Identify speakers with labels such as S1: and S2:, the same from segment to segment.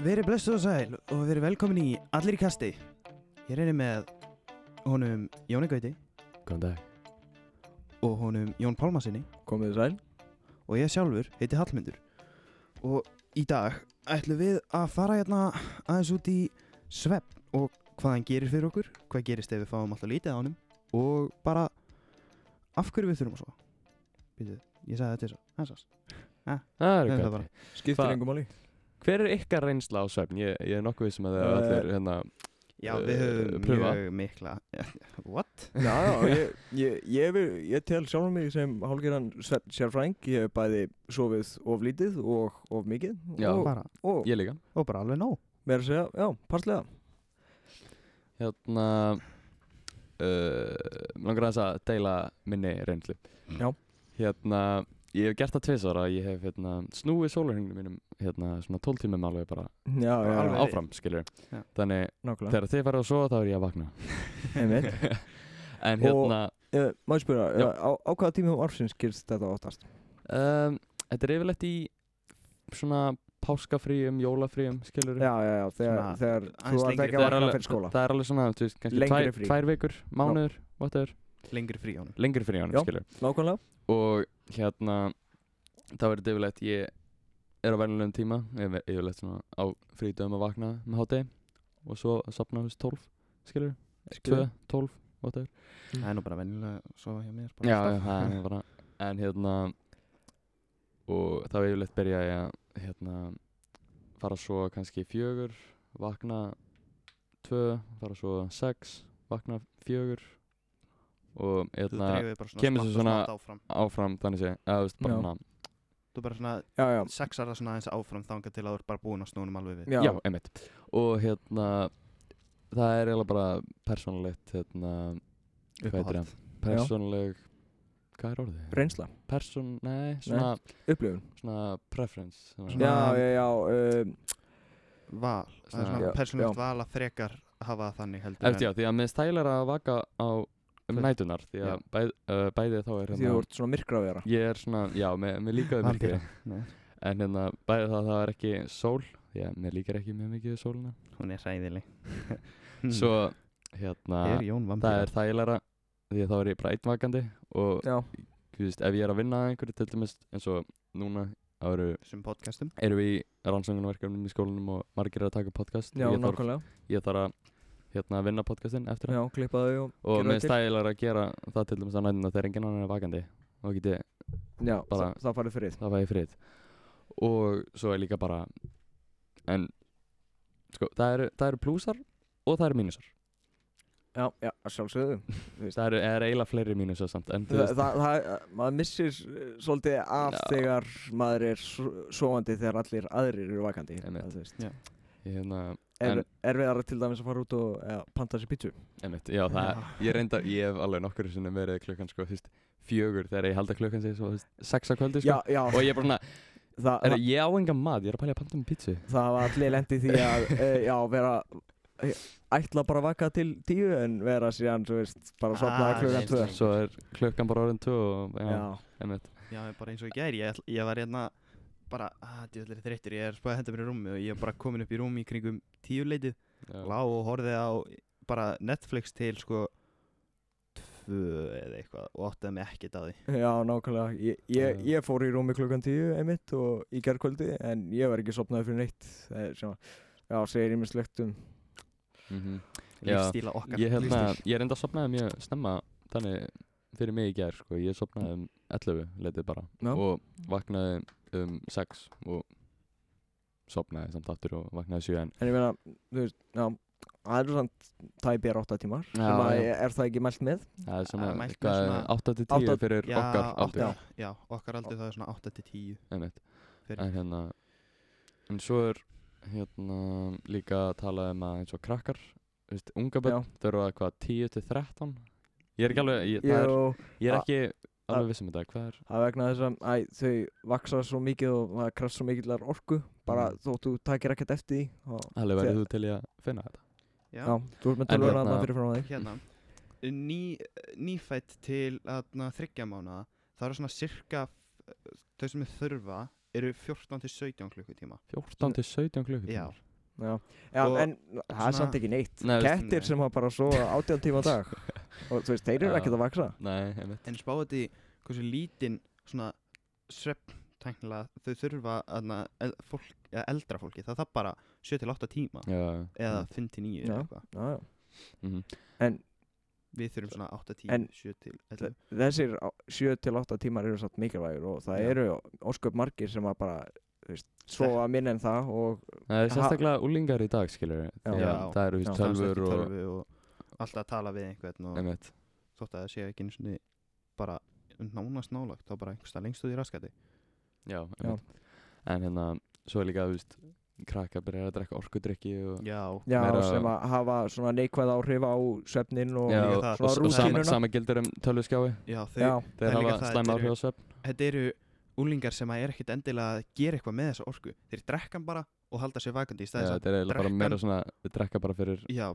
S1: Verið blessuð og sæl og verið velkomin í Allir í kasti Hér er ég með honum Jóni Gauti
S2: Góðan dag
S1: og honum Jón Pálmasinni
S2: Komið þið sæl
S1: og ég sjálfur heiti Hallmundur og í dag ætlum við að fara hérna aðeins út í svepp og hvað hann gerir fyrir okkur hvað gerist ef við fáum alltaf lítið á honum og bara af hverju við þurfum að sofa Býtu, ég sagði þetta þess að þess
S2: Það
S1: Nei,
S2: er
S1: það
S2: gott
S1: bara.
S3: Skiptir
S2: Hva-
S3: engum máli
S2: Hver er ykkar reynsla á svefn? Ég, ég er nokkuð vissum að það er
S3: Eh,
S2: allir hérna
S1: Já, við
S2: Eh,
S1: höfum
S2: prufa.
S1: mjög mikla What?
S3: Já, já, ég, ég, ég, vil, ég tel sjálfum mig sem hálfgerðan svefn sérfræng Ég hef bæði sofið of lítið og of mikið
S2: Já.
S3: og,
S1: Bara,
S3: og
S2: Ég líka
S1: og bara alveg nóg
S3: meira að segja, já, passlega
S2: Hérna uh, Langar aðeins að deila minni reynslu
S3: Já.
S2: Hérna Ég hef gert það tvisar að ég hef hérna, snúið sólarhengnum mínum hérna svona 12 tímum alveg bara
S3: Já, já,
S1: Bara
S3: já,
S1: alveg.
S2: áfram skilur
S1: Já.
S2: Þannig
S3: nákvæmlega
S2: þegar þið farið að sofa þá er ég að vakna
S3: Einmitt.
S2: En hérna
S3: uh, Má ég spyrja,
S2: Já.
S3: uh, á, á hvaða tímum ársins gerst þetta óttast?
S2: um, Þetta er yfirleitt í svona páskafríum, jólafríum skilur
S3: Já, já, já, þegar,
S1: Svona
S3: þegar
S1: aðeins lengri fyrir-
S2: það er
S3: þú ert ekki að vakna
S2: alveg-
S3: fyrir skóla
S2: það er alveg svona, þú veist, kannski
S3: Lengri
S2: tvær,
S3: frí.
S2: tvær vikur, mánuður, whatever,
S1: Lengri frí á honum
S2: lengri frí ánum,
S3: Já.
S2: skilur.
S3: Nákvæmlega,
S2: Og hérna, þá er þetta yfirleitt, ég er á venjulegum tíma, ég er yfirleitt svona á frítöðum að vakna með hátegi og svo að sopna hús 12, skilur, 2, 12, whatever.
S1: Það er nú bara venjulega að sofa hjá mér bara
S2: Já,
S1: alltaf.
S2: já, það er bara, en hérna, og þá yfirleitt byrja ég að, hérna, fara svo kannski fjögur, vakna 2, fara svo 6, vakna fjögur og
S1: Þú
S2: hérna
S1: dregur þig bara svona
S2: kemur
S1: smátt
S2: þessu
S1: og
S2: svona-
S1: smátt áfram
S2: áfram þannig sé eða þú veist bara
S3: Já.
S2: svona
S1: Þú bara svona
S3: Já, já,
S1: sexar það svona aðeins áfram þangað til að þú ert bara búin að snúnum alveg við
S3: já,
S2: já, einmitt og hérna það er eiginlega bara persónulegt hérna hvað heitir
S1: Uppáhald.
S2: það? persónuleg hvað er orðið?
S3: reynsla,
S2: persón, nei, svona,
S3: upplifun
S2: svona preference svona.
S1: Svona-
S3: Já, já, já, um,
S1: Val, það er
S2: Svona-
S1: svona
S3: Já, já.
S1: persónulegt val að frekar hafa það þannig heldur
S2: eftir já, því að mér stælar að vaka á um
S1: Kvöld.
S2: nætunar því
S1: Já.
S2: að bæð, uh, bæði þá er
S3: því þú
S2: hérna
S3: ert svona myrkra að vera
S2: ég er svona, já, mér, mér líkaði myrkri
S1: Nei.
S2: en hérna bæði það að það er ekki sól já, mér líkar ekki mjög mikið við sólina
S1: Hún er ræðileg
S3: Mm.
S2: svo hérna
S1: Er Jón
S2: það
S1: vampíra?
S2: er þægilegra því að þá er ég bara einnvakandi og
S3: Já,
S2: þú veist, ef ég er að vinna að einhverju til dæmis eins og núna þá eru,
S1: Þessum podcastum
S2: erum við í rannsóknarverkefnum í skólanum og margir eru að taka podcast
S3: já,
S2: og ég þarf,
S3: nákvæmlega
S2: ég þarf að hérna, vinna podcastin eftir
S3: Já, klippa þau og
S2: og
S3: gera
S2: mér
S3: þau til.
S2: stælar að gera það til dæmis að nætina þegar enginn annar er vakandi og geti,
S3: Já,
S2: bara-
S3: það, það farið fyrir
S2: það fæði frið og svo er líka bara en sko, það eru, það eru plúsar og það eru mínusar
S3: Já, já, að sjálfsögðu
S2: það eru, er eiginlega fleiri mínusar samt en, þú
S3: Þa,
S2: veist-
S3: það, það, maður missir eh, svolítið af
S2: Já.
S3: þegar maður er so- sofandi þegar allir aðrir eru vakandi
S2: Einmitt.
S3: það, þú veist.
S2: ég, hérna,
S3: er,
S2: En-
S3: Erfiðara til dæmis að fara út og ja, panta sér pítsu
S2: Einmitt, já, það, ég reyndar, ég hef alveg nokkur sinnum verið klukkan sko, þú veist, fjögur þegar ég held að klukkan sé svo, þú veist, sex á kvöldi,
S3: Já,
S2: sko
S3: já,
S2: og ég er bara svona,
S3: það,
S2: er
S3: það,
S2: ég á engan mat, ég er að pæla í að panta um pítsu
S3: það var allir lendi því að e, já, vera eh, ætla bara að vaka til tíu en vera síðan, þú veist, bara að sopna
S1: Ah,
S3: ah, klukkan
S1: nei,
S3: tvö
S1: nei.
S2: svo er klukkan bara orðin tvö og, já,
S3: Já,
S2: einmitt
S1: Já, ég bara eins og ég gæri Ég, ætl- ég var hérna bara, að djöðlega þreyttur Ég er spæði að henda mér í rúmi og ég er bara komin upp í rúmi í kringum tíuleitið
S2: já,
S1: Lá og horfið á bara Netflix til sko Tvö eða eitthvað Og áttaði mig ekkert að því
S3: já nákvæmlega ég, ég,
S2: Já.
S3: ég fór í rúmi klukkan tíu einmitt og í gerkvöldi en ég var ekki sopnaði fyrir neitt það er sem að, já, segir ég mér slögt um
S2: mhm. Já.
S1: Lífstíla okkar
S2: ég, hérna,
S1: Lífsstíl.
S2: ég reynda að sopnaði mjög snemma þannig fyrir mig í gær, sko, ég sopnaði um 11 letið bara
S3: Já.
S2: og vaknaði um 6 og sopnaði samt aftur og vaknaði 7 en
S3: En ég meina, þú veist, já, það eru samt tæpir 8 tímar
S2: Já,
S3: sem að
S2: já.
S3: er það ekki mælt með
S2: það er
S1: Ah,
S2: svona,
S1: mælt með
S2: hvað,
S1: svona-
S2: 8-10
S3: Átta-
S2: fyrir
S1: Já,
S2: okkar
S1: átta-
S2: aldur
S1: Já, okkar aldrei það er svona 8 til 10
S2: einmitt
S1: fyrir
S2: en hérna en svo er hérna líka að tala um að eins og krakkar þú veist, unga börn þau eru að hvað 10 til 13 ég er ekki alveg ég, það er,
S3: Jú,
S2: ég er
S3: a-
S2: ekki alveg viss um þetta hvað er
S3: það er vegna þess að æ, þau vaksa svo mikið og það krafst svo mikillar orku bara
S2: Mm.
S3: þótt þú takir ekkert eftir því og,
S2: alveg verður
S3: Þe-
S2: þú til í að finna þetta
S1: Já,
S3: já. þú ert með
S2: En
S3: tölvuna
S2: hérna-
S3: þarna fyrir frá þig
S1: hérna ný, Nýfætt til atna, þryggja mánuða Það eru svona cirka f- Þau sem er þurfa eru 14 til 17 klukkutíma
S2: 14 til 17 klukkutíma
S1: Já,
S3: Já, já
S1: Og
S3: en það er
S1: svona-
S3: samt ekki neitt
S2: Nei, þú veist,
S1: nei.
S3: Kettir sem hafa bara svo átján tíma á dag Og þú veist, þeir eru
S2: Já.
S3: ekkert að vaksa
S2: Nei, einmitt
S1: en spá þetta í hversu lítinn svona svepp tæknilega þau þurfa aðna, el, fólk, ja, eldra fólki það þarf bara 7-8 tíma
S2: Já,
S1: eða 5-9
S2: einmitt.
S3: Mm. Já.
S1: eða eitthvað
S3: Já, já.
S2: Mhm.
S1: við þurfum svona 8-10,
S3: En-
S1: 7-11
S3: Þessir 7-8 tímar eru satt mikilvægur og það
S1: Já.
S3: eru ósköp margir sem að bara þú veist, sofa minna en það og
S2: Það er
S3: Ha-
S2: sérstaklega úlingar í dag, skilur við
S3: Já.
S1: Já.
S2: Það eru, þú
S3: Já.
S2: veist, tölfur og
S1: tölvu og alltaf að tala við einhvern og
S2: Einmitt
S1: þótt að það sé ekki einu sinni bara nánast nálagt þá bara einhversta lengst út í raskati
S2: Já, einmitt En hérna, svo er líka, þú veist Krakka byrjar að drekka orkudrykki og
S1: já,
S3: já,
S2: Meira-
S3: sem að hafa svona neikvæð áhrif á svefnin og
S2: Já,
S1: líka
S2: og,
S1: það.
S2: og,
S3: Svona
S2: og sama,
S3: rútínuna.
S2: sama gildir um tölvuskjái
S1: já þau, er
S3: já,
S2: Þeir
S1: líka
S2: hafa
S1: það,
S2: slæma
S1: þetta
S2: áhrif
S1: eru-
S2: á svefn
S1: þetta eru úlingar sem að er ekkit endilega að gera eitthvað með þessa orku þeir drekkan bara og halda sér vakandi í
S2: Já,
S1: stæðis að
S2: Þetta er eiginlega bara
S1: drekkan-
S2: meira svona Þeir drekka bara fyrir
S1: já,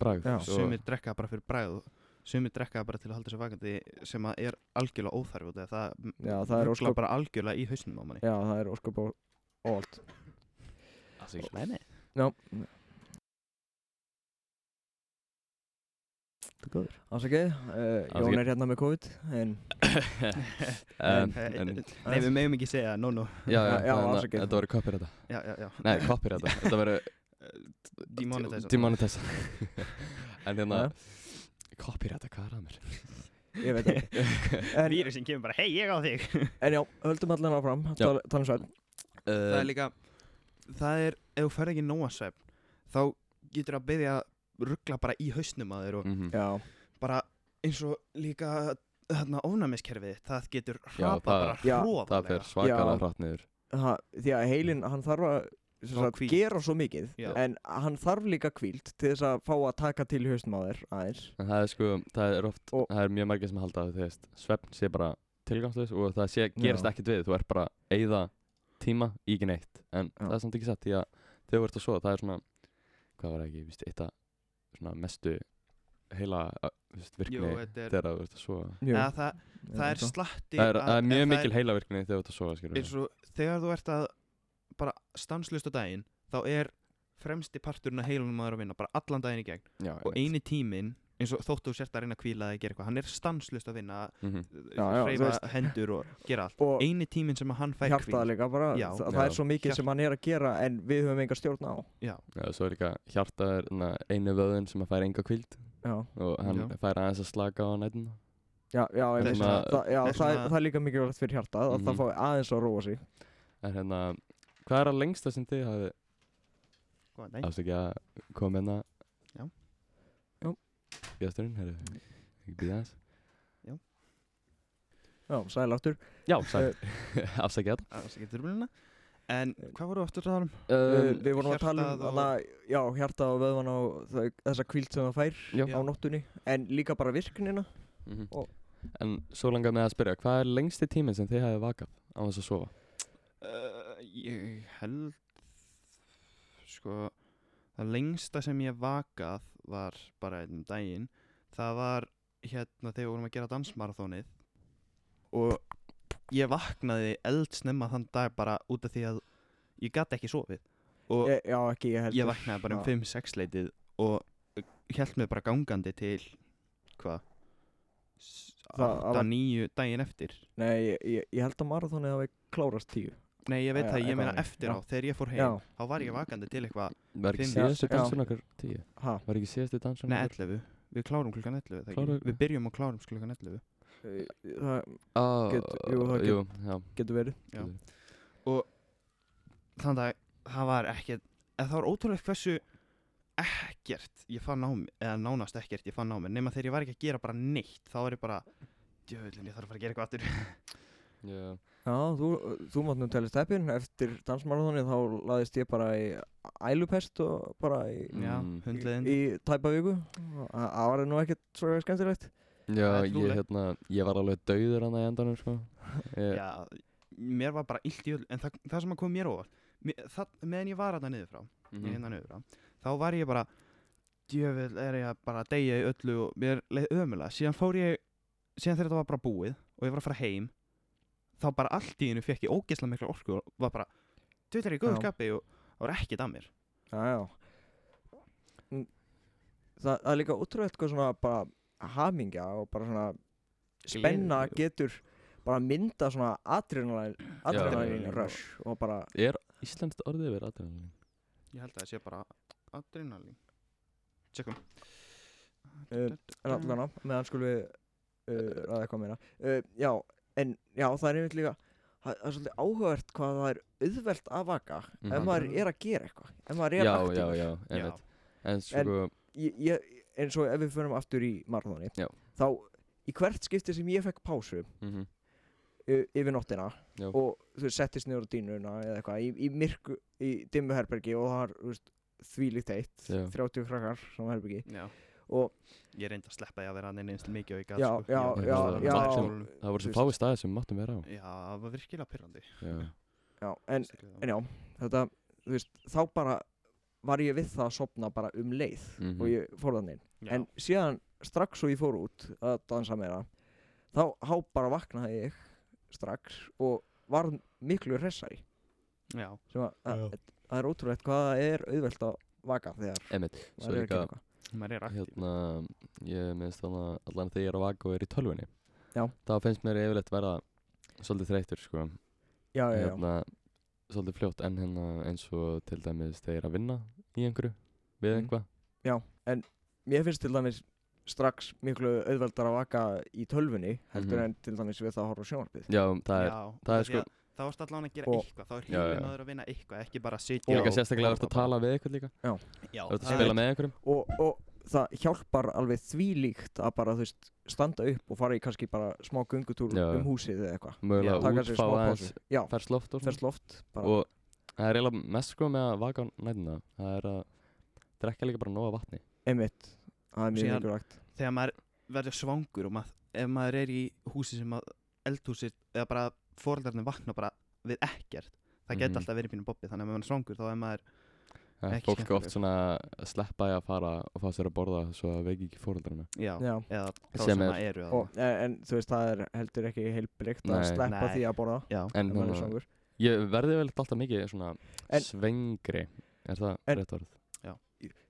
S2: bragð
S3: Já.
S2: og-
S1: sumir drekka bara fyrir bræð sumir drekka bara til að halda sér vakandi sem að er algjörlega óþarf út af því að það
S3: já, það er
S1: ruglar
S3: ósköp
S1: bara algjörlega í hausnum á manni
S3: já, það er ósköp og ólt
S2: Alls ekki.
S1: Nei, nei.
S3: já Ásakið, uh, Jón er hérna með COVID en
S2: En,
S1: Nei,
S2: en,
S1: nei, við megum ekki segja, no, no
S2: já, já,
S3: Já,
S2: já,
S3: afsakið.
S2: þetta voru koppir þetta
S1: já, já, já,
S2: Nei, koppir þetta, þetta voru
S1: demonetize
S2: Demonetize En hérna
S3: Já.
S2: Koppir þetta, hvað er að mér?
S3: ég veit ekki en,
S1: vírusin kemur bara, hei, ég á þig
S3: en já, höldum allan áfram
S2: Já.
S3: tal, tala um svefn
S1: það
S2: Eh,
S1: er líka, það er ef þú ferð ekki nóa svefn þá getur að byrja að ruggla bara í hausnum að þér og
S2: líka
S3: já,
S1: bara eins og líka þarna ofnæmiskerfið, það getur
S2: Já,
S1: hrapa
S2: það-
S1: bara
S3: Já,
S2: Það
S1: hróðalega
S2: fer svakalega
S3: Já.
S2: hratt niður
S3: ha, því að heilin, hann þarf að sem
S1: Fá
S3: sagt,
S1: hvíld.
S3: gera svo mikið
S1: Já.
S3: en hann þarf líka kvíld til þess að fá að taka til haustum á þér aðeins
S2: En það er sko, það er oft,
S3: Og-
S2: það er mjög margir sem halda að þú veist Svefn sé bara tilgangslaus og það sé, gerist
S3: Já.
S2: ekkert við Þú ert bara að eyða tíma í ekki neitt En
S3: Já.
S2: það er samt ekki satt því að þegar þú ert að svo Það er svona, hvað var það ekki, víst, eitt að svona mestu heila, uh, víst,
S1: Jú,
S2: virkni
S1: þetta er,
S2: þegar þú ert að svo
S1: eða það, það er slatti
S2: Það er, það er
S1: en
S2: mjög
S1: það
S2: mikil heilavirkni þegar þú ert að sofa,
S3: Mm.
S2: skilur
S1: eins og þegar þú ert að bara stanslust á daginn þá er fremsti parturinn að heilunum maður að vinna bara allan daginn í gegn
S2: Já,
S1: og eini tíminn eins og þóttu þú sért að reyna að kvíla eða gera eitthvað hann er stanslust að vinna
S2: mm -hmm.
S1: já,
S3: já, þú
S1: reyfa
S3: veist.
S1: hendur og gera allt
S3: og
S1: eini tíminn sem að hann fær
S3: hjartað líka bara
S1: Já.
S3: það, það er
S2: Já.
S3: svo mikið
S1: Hjart-
S3: sem hann er að gera en við höfum enga stjórn á
S1: já,
S2: Já, svo er líka hjarta er na, einu vöðun sem að færa enga kvild
S3: já,
S2: og hann
S1: Já.
S2: fær aðeins að slaka á nættina
S3: já, já,
S1: er
S3: einmitt.
S2: svona-
S3: það,
S1: það
S3: já það,
S1: er
S3: það,
S1: svona-
S3: það er líka mikilvægt fyrir hjartað að
S2: Mhm.
S3: það fái aðeins að róa sig
S2: En hérna, hvað er að lengsta sem þið hafi
S1: góðan daginn
S2: afsækja að koma hérna
S1: Já.
S3: Já.
S2: Gesturinn, herru, ekki býða aðeins
S3: já, sæl áttur
S2: Já, sæl, afsækja þetta
S1: að það sé getur blina en hvað voru aftur að tala um
S3: uh,
S2: um,
S3: við vorum að tala um
S1: hjartað og-
S3: hana, já, hjartað og vöðvan og þau- þessa kvíld sem það fær
S2: Já.
S3: á nóttunni en líka bara virknina
S2: mhm.
S3: og-
S2: En svo langar mig að spyrja, hvað er lengsti tíminn sem þið hafi vakað á þess að sofa?
S1: uh, ég held sko það lengsta sem ég vakað var bara einnum daginn það var hérna þegar við vorum að gera dansmarathónið og ég vaknaði eldsnemma þann dag bara út af því að ég gat ekki sofið og
S3: ég, já, ekki, ég held
S1: ég vaknaði bara um 5-6 leitið og held mig bara gangandi til hvað
S3: Það- það var-
S1: 8-9 daginn eftir
S3: nei, ég, ég, ég held að marathónið hafi klárast tíu
S1: nei ég veit
S3: Já,
S1: það,
S3: eitthvað
S1: ég meina
S3: þannig.
S1: eftir á
S3: Já.
S1: þegar ég fór heim
S3: já,
S1: þá var ég vakandi til eitthvað
S2: Var ekki
S1: Fimm-
S2: síðastu
S3: Já.
S2: dansun okkar tíu?
S3: ha
S2: Var ekki síðastu dansun
S1: Nei, 11 Við klárum klukkan 11 er það ekki?
S2: Klárum-
S1: Við byrjum og klárum klukkan 11
S3: Eh, það
S2: Ah,
S3: Get- jú, það get-
S2: jú, já,
S3: getur verið
S1: Já.
S2: getur-
S1: Þannig að það var ekkert eða Það var ótrúlega hversu ekkert ég fann á mig eða nánast ekkert ég fann á mig nema þegar ég var ekki að gera bara neitt þá var ég bara djöðlinn ég þarf að fara að gera eitthvað aftur
S2: Já,
S3: Já, þú, þú mátt nú telja steppin eftir dansmarathonið þá laðist ég bara í ælupest og bara í,
S1: Já,
S2: Mm.
S1: hundleiðin
S3: í tæpa viku Þa- það var nú ekkert svo skemmtilegt
S2: já
S1: er
S2: ég,
S1: trúlegt.
S2: hérna, ég var alveg dauður hann í endanum sko. ég,
S1: Já, mér var bara illt í öll en það, það sem að kom mér óvart mér, það, meðan ég var þetta niður frá
S2: mhm.
S1: hérna niður á, þá var ég bara djöfell er ég að bara deyja í öllu og mér leið ömulega, síðan fór ég síðan þegar þetta var bara búið og ég var að fara heim þá bara allt í hennu fekk ég ógeðslega mikla orku og var bara, djöfell er ég í góðu
S3: Já.
S1: skapi og það var ekkert að mér
S3: Já, já. Mm, Það, það er líka útrúlegt hvað svona bara hamingja og bara svona spenna
S2: Gleði.
S3: getur bara mynda svona adrenalin, adrenalin
S2: já, já.
S3: rush og bara,
S2: Er íslenskt orðið yfir adrenalin?
S1: Ég held að það sé bara adrenalín Tjekkum
S3: Eh, en allan á, meðan skulum við uh, ræða eitthvað meira. Uh, já, en já, það er einmitt líka, það það er svolítið áhugavert hvað það er auðvelt að vaka ef
S2: Mhm.
S3: maður er að gera eitthvað, ef maður er
S2: Já,
S3: aktífur.
S2: já, já,
S1: Já,
S2: einmitt. En sko,
S3: ég, ég, eins og ef við förum aftur í marathoni
S2: Já.
S3: þá í hvert skipti sem ég fekk pásu
S2: mhm,
S3: y- yfir nóttina
S2: Já.
S3: og þú veist, settist niður á dýnuna eða eitthvað í, í myrku, í dimmu herbergi og það var þú veist, þvílíkt heitt
S2: Já.
S3: 30 krakkar sem herbergi
S1: já
S3: og
S1: Ég reyndi að sleppa því að vera hann eins mikið og ég
S3: Já,
S1: gæt
S3: já,
S2: já, já. það voru svo
S3: þú veist.
S2: fáið staðið sem við máttum vera á.
S1: Já, það var virkilega pyrrandi
S2: Já,
S3: já, en, en já, þetta þú veist, þá bara var ég við það að sopna bara um leið
S2: Mhm.
S3: og ég fór þannig
S1: já,
S3: en síðan strax og ég fór út að dansa meira þá há bara vaknaði ég strax og var miklu hressari
S1: já,
S3: sem að, að, það er ótrúlegt hvað það er auðvelt að vaka þegar
S2: einmitt. Svo
S3: maður er að
S2: líka,
S3: gera eitthvað
S1: maður er aktíf
S2: hérna, ég minnst þannig að allan þegar ég er að vaka og er í tölvunni.
S3: Já.
S2: Það finnst mér yfirleitt verða svolítið þreytur, sko.
S3: já, já, já,
S2: Hérna, svolítið fljótt en hérna eins og til dæmis þegar ég er að vinna í einhverju, við
S3: Mhm.
S2: einhvað.
S3: mér finnst til dæmis strax miklu auðveldar að vaka í tölvunni heldur
S2: Mhm.
S3: en til dæmis við það að horfa á sjónvarpið
S2: Já, það er,
S1: Já,
S2: það er
S1: af því
S2: sko-
S1: að Þá erst allan að gera
S3: Og-
S1: eitthvað Þá er
S2: Já, já.
S1: hílinn aður að vinna eitthvað Ekki bara að sitja
S2: og líka
S1: og-
S2: sérstaklega að vera að tala við eitthvað líka.
S1: Já,
S2: Þú ert að
S1: það
S2: spila
S1: er-
S2: með einhverjum.
S3: og, og það hjálpar alveg þvílíkt að bara þú veist standa upp og fara í kannski bara smá göngutúr
S2: Já, já.
S3: um húsið eða eitthvað
S1: Já.
S2: Mögulega
S3: taka
S2: út,
S3: sér
S2: fá
S3: smá
S2: aðeins,
S3: pásu já,
S2: færs loft og svona.
S3: ferst loft bara,
S2: og það er eiginlega mest sko með að vaka á nætina það er að drekka líka bara nóga vatni
S3: Einmitt, það er mjög
S1: Síðan-
S3: mikilvægt
S1: Þegar maður verður svangur og maður, ef maður er í húsi sem að eldhúsir eða bara foreldarnir vakna bara við ekkert það geti
S2: Mhm.
S1: alltaf verið pínu bobbi þannig að ef maður er svangur þá er maður
S2: það
S1: Ekki
S2: er fólk
S1: skemmtileg.
S2: oft svona að sleppa í að fara og fá sér að borða svo að veiki ekki fóröldarina
S1: já,
S3: Já.
S1: eða þá
S2: Sem
S1: sem
S2: er-
S1: maður eru
S3: og, en, en þú veist, það er heldur ekki heilbrikt að
S2: Nei.
S3: sleppa
S1: Nei.
S3: því að borða
S1: já,
S2: en
S3: ef maður er
S2: hérna,
S3: svangur.
S2: ég verði vel alltaf mikið svona
S3: En-
S2: svengri er það
S3: En-
S2: rétt orð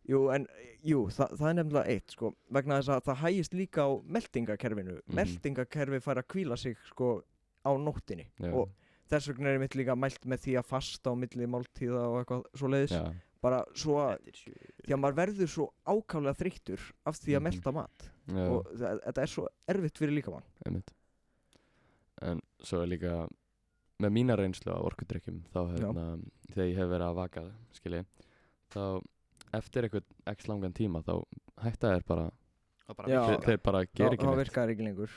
S3: Jú, en jú, það, það er nefnilega eitt sko, vegna þess að það hægist líka á meldingakerfinu,
S2: Mhm.
S3: meldingakerfi fær að kvíla sig sko á nóttinni
S2: já,
S3: og þess vegna er mitt líka mælt með því að fasta á milli máltíða og eitthvað svo leiðis,
S2: já,
S3: bara svo að
S1: Þetta er sjö-
S3: því að maður verður svo ákaflega þreyttur af því að
S2: Mhm.
S3: melda mat
S2: já,
S3: og það- þetta er svo erfitt fyrir líkamann
S2: einmitt en svo er líka með mína reynslu af orkudrykkjum þá hérna, þegar ég hef verið að vaka skilji, þá eftir eitthvað x langan tíma þá hætta þér bara,
S1: og
S3: Já.
S1: bara
S2: þeir,
S1: virka.
S2: þeir bara
S3: þá,
S2: gera ekki
S3: þá
S2: neitt
S3: virkar ekki lengur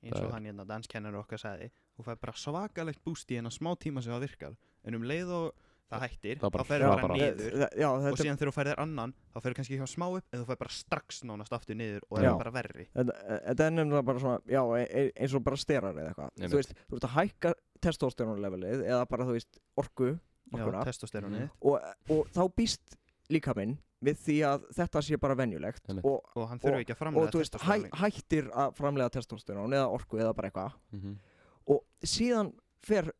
S1: eins
S2: það
S1: og
S2: er-
S1: hann hérna danskennar okkar sagði þú fær bara svakalegt búst í hennar smá tíma sem það virkar en um leið og það hættir
S2: Það bara-
S1: þá fer
S2: Já,
S1: það bara
S2: bara-
S1: niður
S3: Þe- þe- já,
S1: og
S3: þetta,
S1: síðan þegar þú færðir annan þá fer kannski hjá smá upp en þú fær bara strax nánast aftur niður og
S3: Já.
S1: það er bara verri
S3: þetta, þetta er nefnilega bara svona já, e- e- eins og bara sterar eða eitthvað
S2: Einmitt.
S3: þú veist, þú ert að hækka testosterónlevelið eða bara þú veist orku
S1: Já,
S3: orkuna
S1: testosterónið
S2: Mhm.
S3: og, og þá býst líka minn við því að þetta sé bara venjulegt
S2: Einmitt.
S3: og,
S1: og hann þurfi ekki að framlega
S3: og þú veist, hæ, hættir að framlega testosterón eða orku eða bara eitthvað
S2: Mhm.
S3: og síðan fer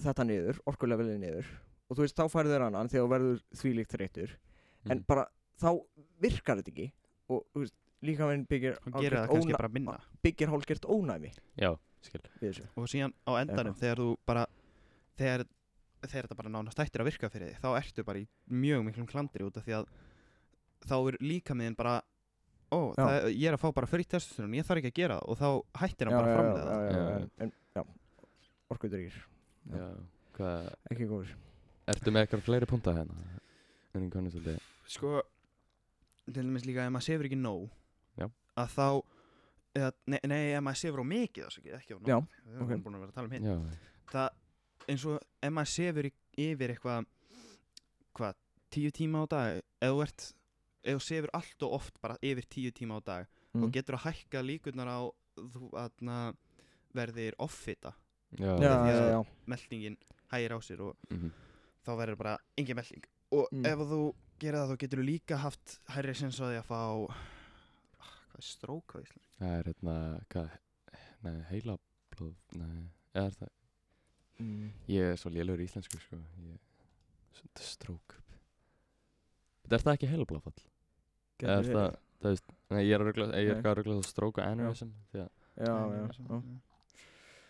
S3: þetta niður, orkulevelið niður og þú veist, þá færðu þér annan þegar þú verður þvílíkt reytur en
S1: Mm.
S2: Mhm.
S3: bara þá virkar þetta ekki og þú veist, líka minn byggir
S1: hann gerir það
S3: hálfgert
S1: kannski
S3: óna-
S1: bara minna
S3: byggir hálfgert ónæmi
S2: Já, skil
S3: við þessu
S1: og síðan á endanum þegar þú bara þegar, þegar þetta bara nánast hættir að virka fyrir þig þá ertu bara í mjög miklum klandri út af því að þá er líkamiðin bara ó,
S3: Já.
S1: það, ég er að fá bara frí testosterón ég þarf ekki að gera það og þá hættir hann
S3: Já,
S1: bara
S3: já,
S1: að
S3: já,
S1: framlega það
S3: já, já,
S2: Já,
S3: en- en- já, orkudryggir, Já.
S2: Já, hvað
S3: ekki góður
S2: Ertu með eitthvað fleiri punta hérna? En ég kannu svolítið
S1: sko til dæmis líka ef maður sefur ekki nóg
S2: Já.
S1: að þá eða, nei, nei, ef maður sefur á mikið það er ekki á nóg
S3: Já,
S1: við erum
S3: ok.
S1: búin að vera að tala um hitt
S2: Já,
S1: það eins og ef maður sefur í, yfir eitthvað hvað, tíu tíma á dag ef þú ert, ef þú sefur allt og oft bara yfir tíu tíma á dag
S3: Mm.
S1: þá getur að hækka líkurnar á þú aðna verðir offita
S2: já,
S3: já,
S1: því
S3: já,
S1: að-
S3: já,
S1: meldingin hægir á sér og
S2: mhm.
S1: þá verður bara engin melding og
S3: Mm.
S1: ef þú gerir það þá getur þú líka haft hærri sens á því að fá ah, hvað er strók á Íslandi
S2: Það er hérna, hvað Nei, heila blóð Nei, eða er það
S3: Mm.
S2: Ég er svo lélur í íslensku, sko ég, Strók Þetta er það ekki heilabláfall? Eða er
S3: Gæti verið.
S2: það, það veist, nei, ég er að ruggla, ég er
S3: Nei.
S2: eitthvað að ruggla svo stroke og aneurysm Því að
S3: Já, já, já.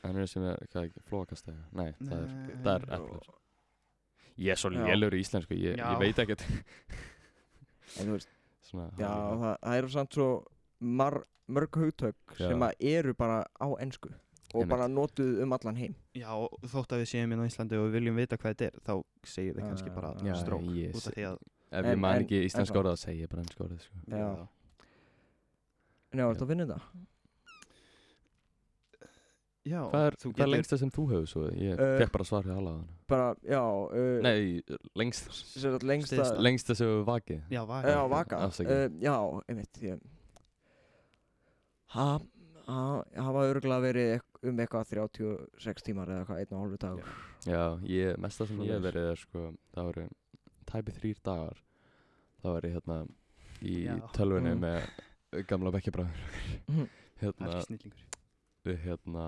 S2: aneurysm er, hvað ekki, flókast eða Nei, það er,
S1: Nei.
S2: það er eplir Ég er svo
S3: Já.
S2: lélur í íslensku, ég,
S1: Já.
S2: ég veit ekkert
S3: En þú veist,
S2: Svona,
S3: já,
S2: hálfur.
S3: það, það eru samt svo mar, mörg hugtök
S2: Já.
S3: sem að eru bara á ensku og
S2: Einmitt.
S3: bara notuð um allan heim
S1: Já, og þótt að við séum hérna á Íslandi og við viljum vita hvað þetta er þá segir þið kannski
S3: Já,
S1: bara
S3: já,
S1: strók
S2: ég
S1: út af því að
S2: Ef
S3: En-
S2: ég man
S3: en-
S2: ekki
S3: en
S2: íslensk
S3: það-
S2: orðið, þá segi ég bara ennsk orðið, sko
S3: Já. En já, ertu að finna þetta?
S1: Já,
S2: Hvað er,
S1: þú
S2: hvað er lengsta sem þú hefur svo? Ég
S3: Eh,
S2: fekk bara svar hjá Allaðan
S3: Bara, já uh,
S2: Nei, lengst,
S3: Sér að lengsta
S1: Stysta.
S2: lengsta sem við vakið
S1: Já, var
S3: Já, vaka
S2: Afsakið.
S3: uh, Já, einmitt ég, ha, ha, Hafa örgulega verið ek- um eitthvað 36 tímar eða eitthvað einn og hálfu dag
S2: Já, ég, mesta sem ég hef
S3: Svoleiðis.
S2: verið er sko, það voru tæpi þrýr dagar það var ég hérna í
S1: Já.
S2: tölvunni
S3: Mm.
S2: með gamla bekkjabræður
S1: Það er
S3: Mhm.
S2: hérna,
S1: ekki snillingur
S2: við hérna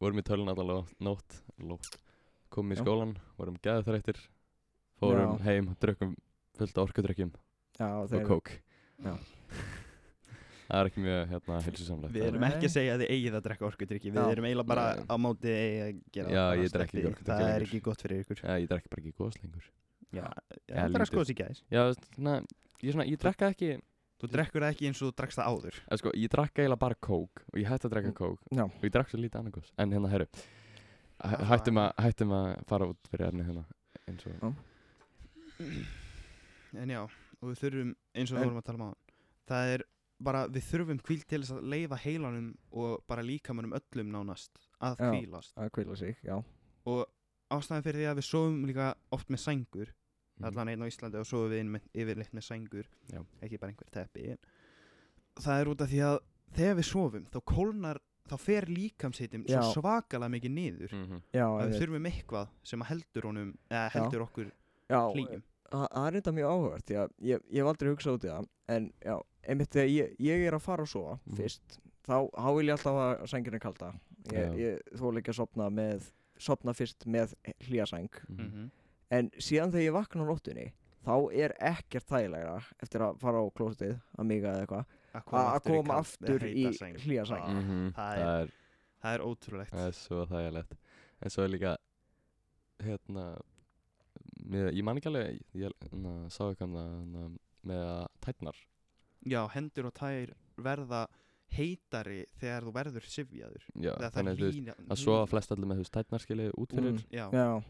S2: vorum í tölvun allan lótt, nótt, lótt komum í
S3: Já.
S2: skólan, vorum geðþrættir fórum
S3: Já.
S2: heim, drukkum fullt af orkudrykkjum
S3: Já,
S2: og kók
S3: Já.
S2: það er ekki mjög hérna heilsusamlegt
S1: Við
S2: en-
S1: erum
S3: Nei.
S1: ekki að segja að þið eigið að drekka orkudrykki Við
S3: Já.
S1: erum eiginlega bara
S2: Nei.
S1: á móti að eigið að gera
S2: Já,
S1: bara
S2: ég drekk
S1: sleppið
S2: ekki
S1: því.
S2: orkudrykki
S1: Það er
S2: lengur.
S1: ekki gott fyrir ykkur
S2: Já, ég drekk bara ekki gos lengur
S1: Já,
S2: Já,
S1: það er að
S2: lítið.
S1: skoða sér gæðis
S2: Já, þú veist, svona, ég, svona, ég drekka ekki
S1: Þú drekkur það ekki eins og þú drekst það áður
S2: Eða sko, ég drakk eiginlega bara kók og ég hætti að drekka
S3: Mm.
S2: kók
S3: Já.
S2: og ég drakk svo lítið annarkos en hérna, herru hæ-
S1: Það
S2: hættum
S1: var-
S2: að, hættum að fara út fyrir efni hérna eins og
S1: En já, og við þurfum eins og
S3: En-
S1: við vorum að tala um áðan Það er bara, við þurfum kvíl til þess að leifa heilanum og bara líkamanum öllum nánast að
S3: Já.
S1: kvílast
S3: Að kvíla sig, já
S1: og ástæðan fyrir því að við sofum líka oft með sængur
S2: Mhm.
S1: allan einn á Íslandi og sofum við inn með, yfirleitt með sængur
S2: Já.
S1: ekki bara einhver teppi en það er út af því að þegar við sofum þá kólnar, þá fer líkamshittum svo
S3: Já. Mm,
S1: svakalega mikið niður
S2: Mhm.
S3: Já,
S1: að við
S3: einmitt.
S1: þurfum eitthvað sem að heldur honum eða
S3: Já.
S1: heldur okkur
S3: já
S1: hlýjum
S3: það það er þetta mjög áhugavert því að ég, ég hef aldrei hugsað út í það en já, einmitt þegar ég, ég er að fara og sofa
S2: Mhm.
S3: fyrst, þá, þá vil ég alltaf að sængirinn kalda
S2: Já.
S3: ég, ég þóla ekki að sopna með sopna fyrst með hlýjasæng
S2: Mhm.
S3: en síðan þegar ég vakna á nóttunni þá er ekkert þægilegra eftir að fara á klósitið að miga eða eitthvað
S1: að
S3: að að
S1: í
S3: koma
S1: kald-
S3: aftur
S1: eða
S3: í
S1: heita sæng.
S3: hlýjasæng.
S1: Ah,
S2: Mhm.
S1: það
S2: það er,
S1: Það er ótrúlegt
S2: það er svo þægilegt en svo er líka hérna mér, ég man ekki alveg ég na, sá ekki um það na, með að tætnar
S1: Já, hendur og tær verða heitari þegar þú verður sifjaður
S2: já,
S1: Þegar það
S2: þannig að þú veist,
S1: hlýna
S2: að svo að flest allir með þú veist, tætnar skilið út fyrir
S3: Mm.
S1: Já,
S3: Já,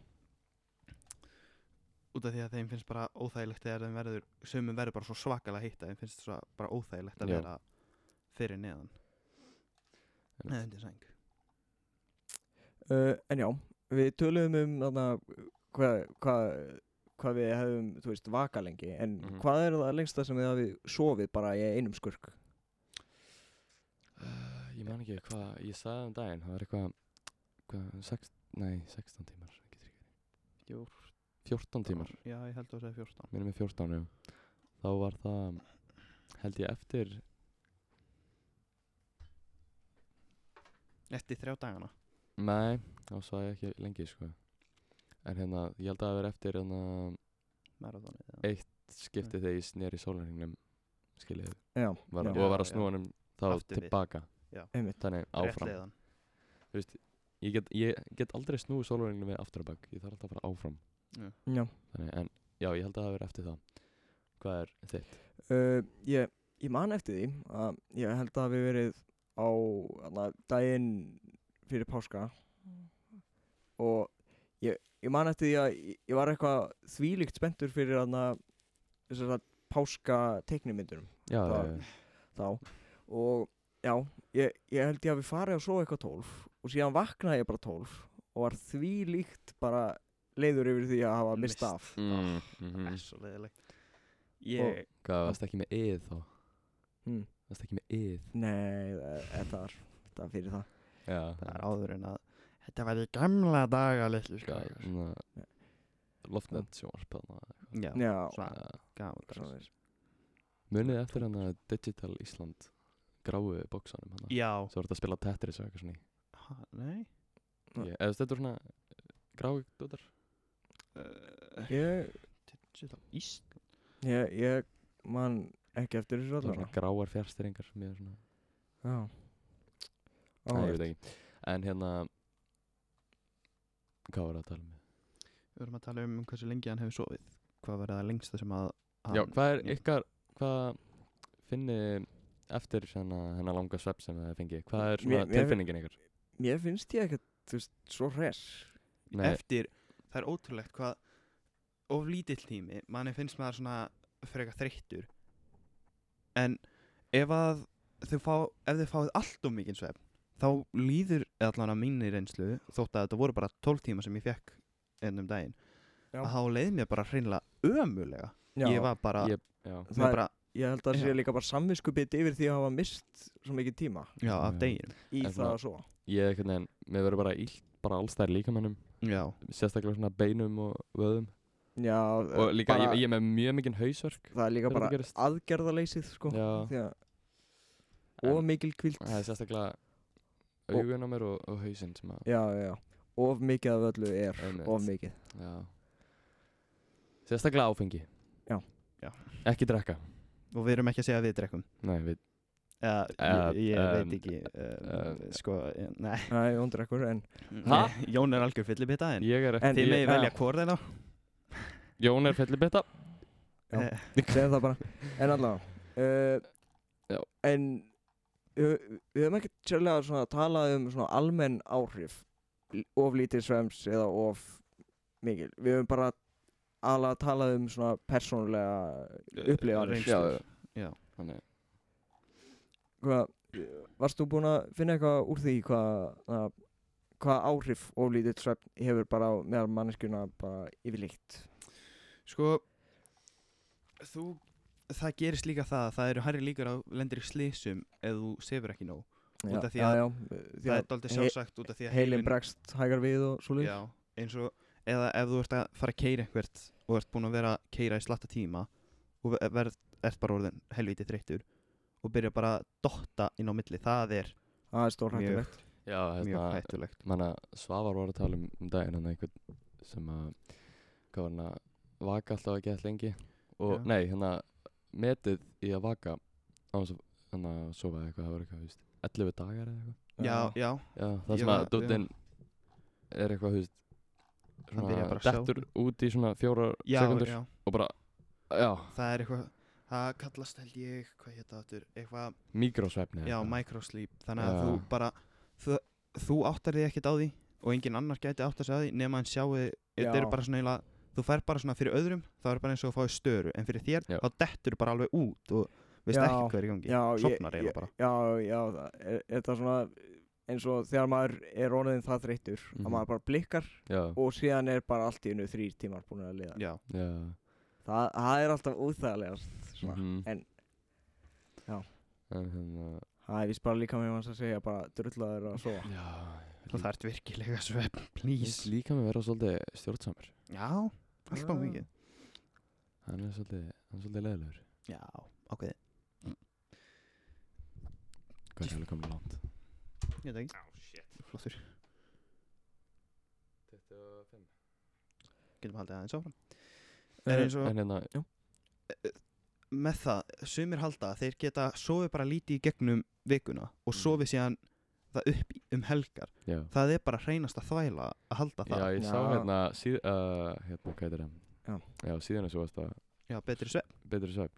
S1: út af því að þeim finnst bara óþægilegt þegar þeim verður Sumum verður bara svo svakalega heita Þeim finnst svo bara óþægilegt að
S2: Já.
S1: vera fyrir neðan
S2: Einmitt.
S1: Neðan til sæng
S3: uh, en já við töluðum um þarna hvað hva, hva við hefum þú veist, vaka lengi, en
S2: Mhm.
S3: hvað er það lengsta sem þið hafið sofið bara í einum skurk
S2: Uh, ég man ekki hvað, ég sagði það um daginn, það var eitthvað, hvað, sex, nei, 16 tímar, ekki tryggur. 14 tímar,
S1: Já, ég held að það er 14
S2: minnum við 14, já. Þá var það, held ég eftir,
S1: Eftir þrjá dagana
S2: nei, þá svað ég ekki lengi, sko. En hérna, ég held að það var eftir, hérna,
S1: Marathonið eða-
S2: eitt skiptið þegar ég sneri sólarhengnum, skiljið,
S3: já,
S2: var,
S1: Já,
S2: og var að
S1: já.
S2: snúa hann þá
S1: Aftur við.
S2: tilbaka,
S3: einmitt
S2: þannig
S1: Rétt
S2: áfram.
S1: leiðan
S2: Þú veist, ég get, ég get aldrei snúið sólarhengnum við aftur að bak, ég þarf alltaf að fara áfram.
S3: já.
S2: Þannig, en já, ég held að það hafi verið eftir það. Hvað er þitt?
S3: Uh, ég, ég man eftir því að ég held að við verið á hana, daginn fyrir páska og ég, ég man eftir því að ég, ég var eitthvað þvílíkt spenntur fyrir hana, þessar páska teiknumyndunum
S2: Já, já,
S3: Það- þá og já, ég, ég held ég að við farið og svo eitthvað tólf og síðan vaknaði ég bara tólf og var þvílíkt bara leiður yfir því að hafa mist
S1: Mist.
S3: af
S2: mm, mhm.
S1: Það er svo leiðilegt Ég
S2: Hvað, varst ekki með yð þá?
S3: Mm.
S1: Hmm.
S2: Varst ekki með yð?
S3: Nei, e, það- þetta var, þetta var fyrir það
S2: Já.
S1: Það er áður en að Þetta var í gamla daga litlu
S2: Hvað,
S1: strákar.
S2: svona, loftnett sjónvarp þarna.
S1: Já,
S3: Já,
S1: svona
S2: Já.
S1: gamla
S3: svoleiðis.
S2: Munið eftir hann að Digital Ísland gráu bóksanum hann.
S1: Já,
S2: Svo var þetta að spila Tetris og eitthvað svona í.
S1: ha, nei
S3: Nei.
S2: Ég- Eða þú veist, þetta er svona eh, gráu dótar.
S1: uh,
S3: Ég,
S1: Ísland
S3: ég, ég man ekki eftir þessu
S2: það var
S3: allavega
S2: svona gráar fjárstyringar sem ég er svona
S3: já
S2: Nei, ég
S3: Áhugavert.
S2: veit ekki En hérna Hvað var það að tala um?
S1: Við vorum að tala um hversu lengi hann hefur sofið Hvað verða það lengsta sem að
S2: Já,
S1: hann-
S2: hvað er
S1: Mm.
S2: ykkar Hvað finni eftir hennar, hennar langa svepp sem það fengi Hvað er svona
S3: Mér- mér-
S2: tilfinningin ykkar?
S3: mér finnst ég ekkert þú veist, svo hress
S2: Nei,
S1: Eftir, það er ótrúlegt hvað Of lítill tími, manni finnst maður svona Frekar þreyttur En ef að Þau fá, ef þau fáið allt um mikið svefn Þá líður eða allan að mínir reynslu Þótt að þetta voru bara 12 tíma sem ég fekk Ennum daginn
S3: Já.
S1: Að þá leið mér bara hreinlega ömulega
S3: já,
S1: Ég var bara,
S2: ég, já,
S1: ég var
S3: það,
S1: bara
S3: ég held að það
S1: Já.
S3: sé líka bara samvinskupið yfir því að hafa mist svo mikið tíma
S1: Já, af
S2: Já.
S1: deginum
S3: í
S2: En
S3: það
S2: svona-
S3: að svo
S2: ég einhvern veginn Mér verður bara illt bara allstæðar líkamannum
S1: Já,
S2: Sérstaklega svona beinum og vöðum
S3: já,
S2: Og líka,
S3: Eh, bara,
S2: ég, ég er með mjög mikinn hausverk
S3: það er líka
S2: þegar
S3: bara
S2: þetta gerist.
S3: aðgerðaleysið sko
S2: Já.
S3: því að
S2: En-
S3: of mikil kvíld
S2: Það er sérstaklega
S3: Og-
S2: augun á mér og, og hausinn sem að
S3: já, já, of mikið af öllu er
S2: Einmitt.
S3: of mikið
S2: Já Sérstaklega áfengi
S3: Já.
S1: Já.
S2: Ekki drekka
S1: og við erum ekki að segja að við drekkum
S2: Nei, við
S1: Uh, ég
S2: Eh,
S1: ég
S2: um,
S1: veit ekki um,
S2: eh,
S1: sko, eh, nei
S3: Nei, hún drekkur en
S2: Ha?
S1: Nei, Jón er algjör fyllibita en eh.
S2: Ég er
S3: En-
S2: ekki
S1: þið
S2: ég,
S1: megið velja hvort þeirna
S2: Jón er fellibetta
S3: Já.
S1: Eh,
S3: segja það bara En allavega
S2: Já.
S3: uh, En uh, við höfum ekki sérlega svona að tala um svona almenn áhrif l- of lítið svems eða of mikil Við höfum bara alveg að tala um svona persónulega upplifanir
S1: reynslur.
S2: já, já.
S1: Já.
S2: Þannig
S3: Hvað, Varst þú búin að finna eitthvað úr því hvað að- hvað áhrif of lítið svefn hefur bara á- meðal manneskjuna bara yfirleitt
S1: sko þú, það gerist líka það að það eru hærri líkur að þú lendir í slísum ef þú sefur ekki nóg Út af því að-
S3: já, já, því
S1: það
S3: að
S1: er dálítið
S3: he-
S1: sjálfsagt út af því að
S3: heilin bregst hægar við og svo
S1: já, eins og eða ef þú ert að fara að keira einhvert og ert búin að vera að keira í slatta tíma og ver- verð, ert bara orðin helvítið þreyttur og byrja bara að dotta inn á milli það er
S3: það er stórhættulegt
S2: Já,
S1: mjög
S2: hérna
S1: hættulegt
S2: Manna, Svavar var að tala um, um daginn Þannig einhvern sem að Hvað var hann að Vaka alltaf ekki alltaf lengi Og
S1: Já.
S2: nei, hérna Metið í að vaka Á þess að Þannig að sofa eða eitthvað Það var eitthvað, þú veist 11 dagar eða eitthvað
S1: já, já,
S2: Já, það
S1: Ég
S2: sem að
S1: var-
S2: Dóttin Er eitthvað, þú veist
S1: Hann byrjar bara að sjá.
S2: Dettur út í svona fjórar
S1: já,
S2: sekundur
S1: já.
S2: Og bara Já,
S1: það er eitthvað það kallast held ég, hvað hétt það aftur eitthvað,
S2: mikrosvefni
S1: já, microsleep þannig að
S2: Já.
S1: þú bara þú, þú áttar þig ekkert á því og engin annar gæti áttar sig á því nema hann sjáu þetta
S3: Já.
S1: eru bara svona eiginlega- þú fær bara svona fyrir öðrum þá er bara eins og að fáið störu en fyrir þér
S2: Já.
S1: þá dettur bara alveg út og veist
S3: Já.
S1: ekki hvað er í gangi
S3: já,
S1: sopnar
S3: ég,
S1: eiginlega bara
S3: já, já, það er, er það svona eins og þegar maður er orðin það þreyttur
S2: Mhm.
S3: að maður bara blikkar
S2: Já,
S3: og síðan er bara allt í unnu þrýr tímar búin að liða
S1: já,
S2: já
S3: það, það er alltaf úþægilegast svona.
S2: mhm.
S3: en- já.
S2: En hérna
S3: það er vist bara líka með manns að segja bara drullaður að sofa
S2: Já
S1: og það ert virkilega svefn, please
S2: Líka með vera svolítið stjórnsamur
S1: já, alltaf
S3: Já.
S1: mikið
S2: Hann er svolítið, hann er svolítið leðilegur
S1: já, ok,
S2: Hvað er alveg komin langt?
S1: ég veit ekki flottur,
S2: 25
S1: getum haldið aðeins áfram er eins og
S2: En hérna,
S1: með það, sumir halda að þeir geta sofið bara lítið í gegnum vikuna og
S2: Mm.
S1: sofið síðan það upp í- um helgar
S2: já
S1: það er bara hreinasta þvæla að halda
S2: Já,
S1: það
S2: ég sá
S3: Já.
S2: hérna síð, uh, Hérna, hvað er það?
S3: Já.
S2: Já, síðan þessu varst að
S1: já, betri svefn
S2: betri svefn